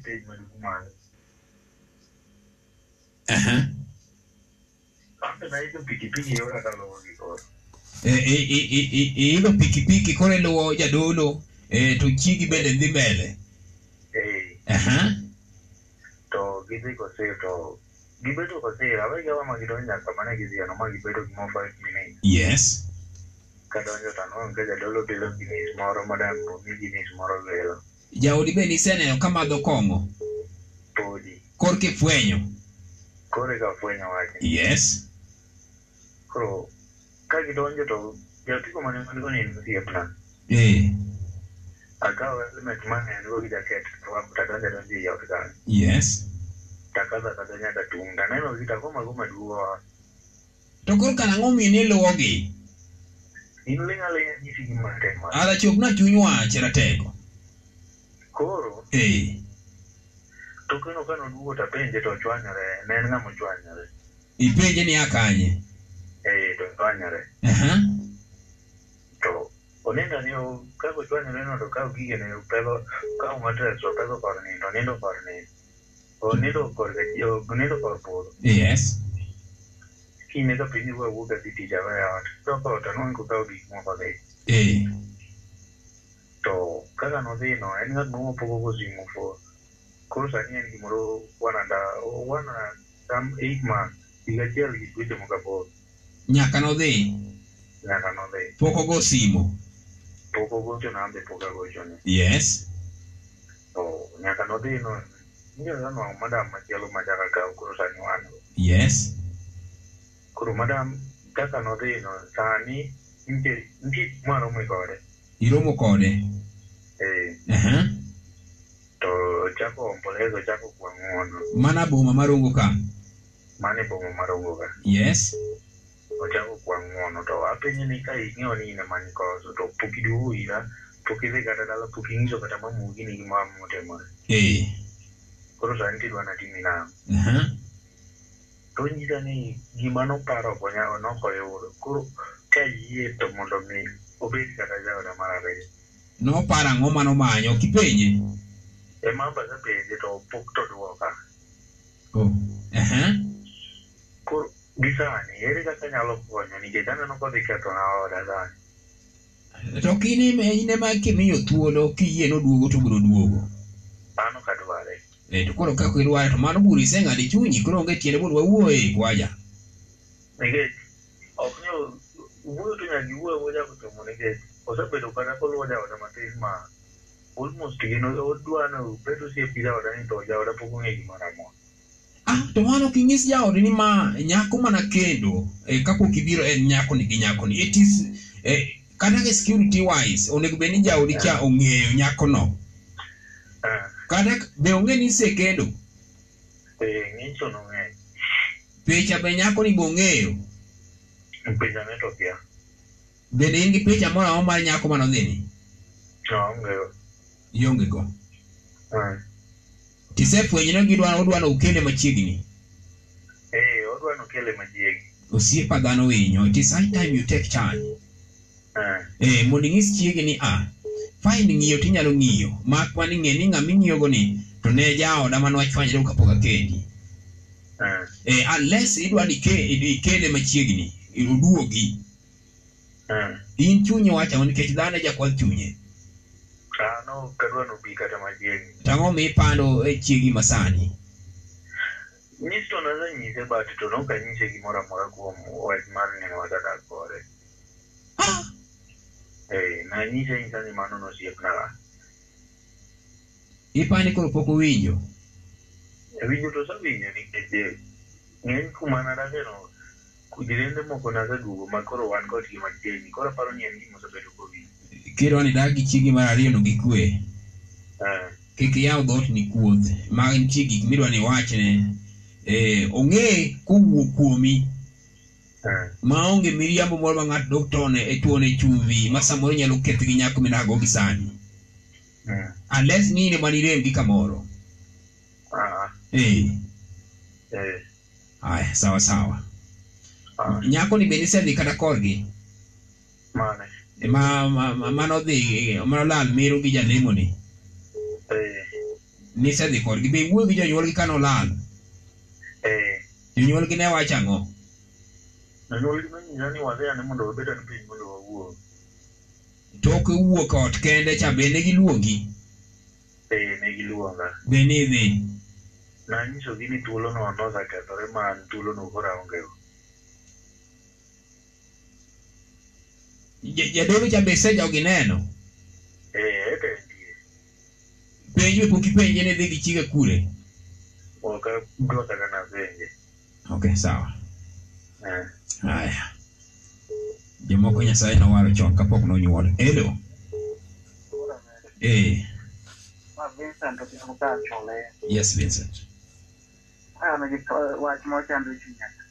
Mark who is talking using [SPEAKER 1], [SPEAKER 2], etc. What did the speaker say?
[SPEAKER 1] State marihuana.
[SPEAKER 2] Ajá.
[SPEAKER 1] Hacen ahí los pikipiki y ahora están los bonito.
[SPEAKER 2] E, ilo e, pikipiki kore luwo jadolo eh, to chigi bende dhi mbele
[SPEAKER 1] Eh,
[SPEAKER 2] Aha.
[SPEAKER 1] to gidhi kose to gibedo kose awegi awa magidonjo nyaka mane gidhi ano ma gibedo gimo five minutes
[SPEAKER 2] yes
[SPEAKER 1] kadonjo to anwang' ka jadolo bilo ginis moro madang' omi ginis moro lelo
[SPEAKER 2] jaodi be niseneno kamadho kong'o
[SPEAKER 1] podi
[SPEAKER 2] kor kifwenyo
[SPEAKER 1] koro eka fwenyo wache
[SPEAKER 2] yes
[SPEAKER 1] koro ka gidonjo to jatiko mane man go ne en osiepna
[SPEAKER 2] eh,
[SPEAKER 1] akawo element mane en go gi jaket torwako tadonjo adonjo ei ot kanyo
[SPEAKER 2] yes
[SPEAKER 1] takadho akadha nyaka tung' taneno gi takoma go maduowa
[SPEAKER 2] to koro karang'o miyo niluwogi
[SPEAKER 1] in ling' aling'a nyisi gimatema
[SPEAKER 2] adha chopna chuny wach ratego
[SPEAKER 1] koro
[SPEAKER 2] eh,
[SPEAKER 1] tokeno ka noduogo tapenje to ochwanyore ne en ng'ama ochwanyore
[SPEAKER 2] ipenje ni akanye
[SPEAKER 1] ee to ochwanyore
[SPEAKER 2] Aha.
[SPEAKER 1] to onindo ni o- kaka ochwanyore no to kawo gigene opedho kawo matres opedho kor nindo onindo kor nindo onindo kor yo- onindo kor podho
[SPEAKER 2] yes
[SPEAKER 1] kine ka piny ruwa wuok adhi tich aweya ot doko ot anwang' kokawo gik moko dhi
[SPEAKER 2] eh,
[SPEAKER 1] to kaka nodhino en ng'at moro mopoko go simu for koro sani en gimoro wananda wana tam eight months higa achiel gi dweche moko aboro
[SPEAKER 2] nyaka nodhi
[SPEAKER 1] nyaka nodhi
[SPEAKER 2] pok ogo simo
[SPEAKER 1] pok ogocho na ambe pok agochone
[SPEAKER 2] yes
[SPEAKER 1] to nyaka nodhi no inyalo ka nwang'o madam machielo ma chaka kaw koro sani wan go
[SPEAKER 2] yes
[SPEAKER 1] koro madam kaka nodhi no sani nitie nitie gik maromo kode
[SPEAKER 2] iromo kode
[SPEAKER 1] eh
[SPEAKER 2] Aha.
[SPEAKER 1] to chako ombolezo chako kwang'uono
[SPEAKER 2] mana boma marongo ka
[SPEAKER 1] mane boma marongo ka
[SPEAKER 2] yes
[SPEAKER 1] ochako kwa ng'uono to apenji ni ka ing'eyo ni in ema nikoso to pok iduogo ira pok idhi kata dala pok ing'iso kata mamugi ni gima motimore
[SPEAKER 2] eh,
[SPEAKER 1] koro sani tidwa natimi nang'o
[SPEAKER 2] Aha.
[SPEAKER 1] to onyisa ni gima noparo okonya nokoyudo koro ka yie to iya mondo mi obed kata jaoda mar ariyo
[SPEAKER 2] noparo ang'o manomanyo kipenje
[SPEAKER 1] ema amba kapenje to pok to dwoka
[SPEAKER 2] oh. Aha.
[SPEAKER 1] koro gi sani ere kaka nyalo konyo nikech aneno kodhi ketho na oda sani
[SPEAKER 2] to kin em- in ema kimiyo thuolo kiyie noduogo to biro duogo
[SPEAKER 1] an ok adware
[SPEAKER 2] e, to koro kaka idware to mano bura iseng'ado e chunyi koro onge tiende mondo wawuoye kwaja
[SPEAKER 1] nikech ok ni wuoyo to nyaka giwuo awuoya kochomo nikech osebedo kata koluwo jaoda matin ma almost gino odwa ni obed osiep gi jaoda ni to jaoda pok ong'e gimoro amora
[SPEAKER 2] ah to mano king'is jaodi ni ma nyako mana kendo e, kapok ibiro en nyakoni gi nyakoni it is e, kata ka security wise onego bed ni jaodi cha ong'eyo nyakono
[SPEAKER 1] Ah,
[SPEAKER 2] kata k- be ong'e ni isekendo
[SPEAKER 1] eh, ng'icho nong'eny
[SPEAKER 2] picha be nyakoni be ong'eyo
[SPEAKER 1] pinjane to kia
[SPEAKER 2] bende in gi picha moro amora mar nyako manodhini
[SPEAKER 1] noongeo
[SPEAKER 2] ionge go tisefwenyo ni gidwa odwano ukele machiegni
[SPEAKER 1] ee odwa nokele majiegi
[SPEAKER 2] osiepa dhano winyo it is high time you take charge
[SPEAKER 1] Ah,
[SPEAKER 2] eh, mondo ing'is chiegi ni ah fine ng'iyo tinyalo ng'iyo mak mana ing'e ni ng'ama ing'iyogo ni to ne jaoda mane wachwanyre kapok akendi
[SPEAKER 1] ah,
[SPEAKER 2] eh, unless idwa ni ke- ikele machiegni oduogi
[SPEAKER 1] ah.
[SPEAKER 2] in chunyi wachang'o nikech dhano e jakwath chunye
[SPEAKER 1] Ah, no kadwa nobi kata majiegi
[SPEAKER 2] tang'o mipando e chiegi masani
[SPEAKER 1] nyis to nasanyise but to nokanyise gimoro amora kuom wach mar neno watadak kode
[SPEAKER 2] ah,
[SPEAKER 1] ee nanyise nyisa Eh, ni mano nosiepnaa
[SPEAKER 2] ipani koro pok owinjo
[SPEAKER 1] winjo to osewinjo nikech eh, ng'eny kuma nadakeno jirende moko naseduogo ma koro wan kodgi machiegni koro aparo ni en gima osebedo kowinjo
[SPEAKER 2] kidwa ni dak gi chiegi mar ariyo no gi kwe
[SPEAKER 1] Ah,
[SPEAKER 2] kik iyaw dhoot ni kuoth ma nitie gik midwa ni iwachne eh, ong'e kowuok kuomi
[SPEAKER 1] ah,
[SPEAKER 2] maonge miriambo moro ma ng'ato dok tone e tuone chumvi ma samoro inyalo keth gi nyako midago gi sani
[SPEAKER 1] mm,
[SPEAKER 2] unless ni in ema nirem gi kamoro
[SPEAKER 1] ah,
[SPEAKER 2] eh,
[SPEAKER 1] eh,
[SPEAKER 2] aya sawa sawa
[SPEAKER 1] ah,
[SPEAKER 2] nyakoni bende isedhi kata korgi Eh,
[SPEAKER 1] mane
[SPEAKER 2] ma, ma, ma, manodhi manolal miro gi jalemoni
[SPEAKER 1] eh,
[SPEAKER 2] nisedhi kodgi be iwuoyo gi jonyuolgi kanolal
[SPEAKER 1] eh,
[SPEAKER 2] jonyuolgi ne wacho ang'o
[SPEAKER 1] jonyuolgi nonyisa ni wadhi ane mondo wabed ane piny mondo wawuo
[SPEAKER 2] tok wuok ot kende cha be ne giluongi
[SPEAKER 1] eh, ne giluonga
[SPEAKER 2] be nidhi
[SPEAKER 1] nanyisogi ni thuolono nosekethore ma an thuolono koro aongego
[SPEAKER 2] Ja- jadolo cha be isejogi neno
[SPEAKER 1] eh, eka entie
[SPEAKER 2] penj be pok ipenje ni dhi gi chiga kure
[SPEAKER 1] ok adwa kata napenje
[SPEAKER 2] ok sawa
[SPEAKER 1] eh.
[SPEAKER 2] haya jomoko nyasaye nowaro chon kapok nonyuol elo eh
[SPEAKER 3] Ma Vincent otiyo kukacho le.
[SPEAKER 2] yes vincent
[SPEAKER 3] An gi wach mochando chunya.
[SPEAKER 2] Eh.